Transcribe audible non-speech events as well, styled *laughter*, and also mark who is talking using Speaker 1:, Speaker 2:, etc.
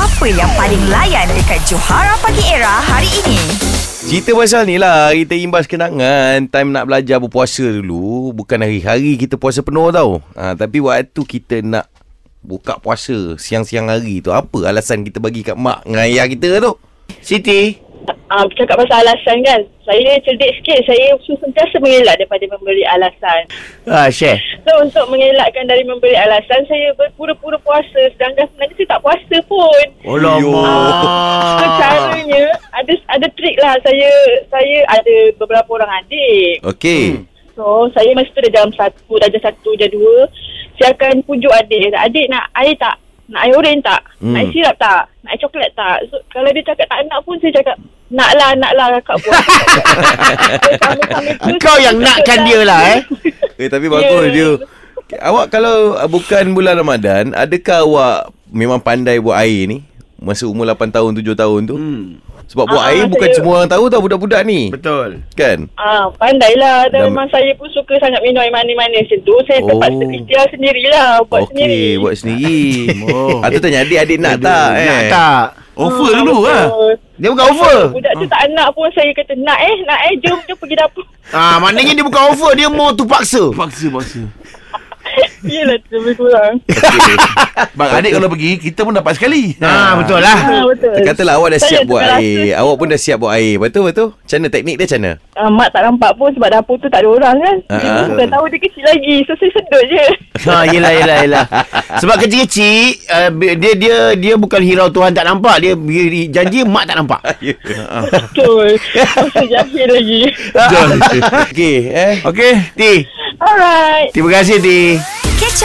Speaker 1: Apa yang paling layan dekat Johara Pagi Era hari ini?
Speaker 2: Cerita pasal ni lah Kita imbas kenangan Time nak belajar berpuasa dulu Bukan hari-hari kita puasa penuh tau ha, Tapi waktu kita nak Buka puasa Siang-siang hari tu Apa alasan kita bagi kat mak Dengan ayah kita tu Siti
Speaker 3: Ah, bercakap pasal alasan kan Saya cerdik sikit Saya sentiasa mengelak daripada memberi alasan
Speaker 2: ha, Share
Speaker 3: So untuk mengelakkan dari memberi alasan Saya berpura-pura puasa Sedangkan sebenarnya saya tak puasa pun So
Speaker 4: Ah.
Speaker 3: caranya Ada ada trik lah Saya saya ada beberapa orang adik
Speaker 2: Okay
Speaker 3: So saya masa tu dah jam satu Dah jam satu jam dua Saya akan pujuk adik Adik nak air tak? Nak air oren tak?
Speaker 2: Hmm.
Speaker 3: Nak air sirap tak? Nak air coklat tak? So, kalau dia cakap tak nak pun saya cakap nak lah, nak lah kakak buat. Sambil-sambil tu,
Speaker 4: Kau yang
Speaker 3: saya
Speaker 4: nakkan
Speaker 3: cakap,
Speaker 4: dia lah eh
Speaker 2: Eh tapi bagus
Speaker 3: Ya.
Speaker 2: yeah. dia Awak kalau uh, bukan bulan Ramadan Adakah awak memang pandai buat air ni? Masa umur 8 tahun, 7 tahun tu hmm. Sebab buat
Speaker 3: Ah,
Speaker 2: air bukan
Speaker 3: saya-
Speaker 2: semua orang tahu tau budak-budak ni
Speaker 4: Betul
Speaker 2: Kan?
Speaker 3: Ah, pandailah.
Speaker 2: Dah-
Speaker 3: Dan memang saya pun suka sangat minum air manis-manis macam tu. Saya
Speaker 2: Oh.
Speaker 3: terpaksa ikhtiar sendirilah. Buat sendiri.
Speaker 2: Okey, buat sendiri.
Speaker 4: *laughs* Oh.
Speaker 2: oh. Atau tanya adik-adik nak
Speaker 4: Ada,
Speaker 2: tak eh?
Speaker 4: Nak tak
Speaker 5: Offer
Speaker 3: Ah,
Speaker 5: dulu lah
Speaker 3: betul.
Speaker 4: Dia bukan offer
Speaker 3: Budak tu tak nak pun saya kata nak eh, nak eh. Jom, jom pergi dapur.
Speaker 4: Ah, Maknanya dia bukan offer Dia mau tu paksa
Speaker 5: Paksa paksa
Speaker 3: Yelah, lebih kurang.
Speaker 5: Bang adik kalau pergi Kita pun dapat sekali
Speaker 4: Ah Betul lah
Speaker 3: Ah, betul.
Speaker 2: Katalah awak dah
Speaker 3: Saya
Speaker 2: siap buat
Speaker 3: terasa-
Speaker 2: air. Awak pun dah siap buat air. Betul betul. Macam mana teknik dia
Speaker 4: *laughs*
Speaker 2: macam mana?
Speaker 3: Ah, mak tak nampak pun sebab dapur tu tak ada orang kan.
Speaker 2: Ah,
Speaker 3: Dia bukan tahu dia kecil lagi. So saya sedut
Speaker 2: *laughs*
Speaker 3: je.
Speaker 4: ha, yelah, yelah, yelah Sebab kecil-kecil uh, Dia dia dia bukan hirau Tuhan tak nampak Dia beri janji mak tak nampak
Speaker 3: Betul. Masa jahil
Speaker 2: *laughs*
Speaker 3: lagi.
Speaker 2: Okey, eh.
Speaker 4: Okay Ti
Speaker 3: Alright.
Speaker 4: Terima kasih Ti
Speaker 1: Catch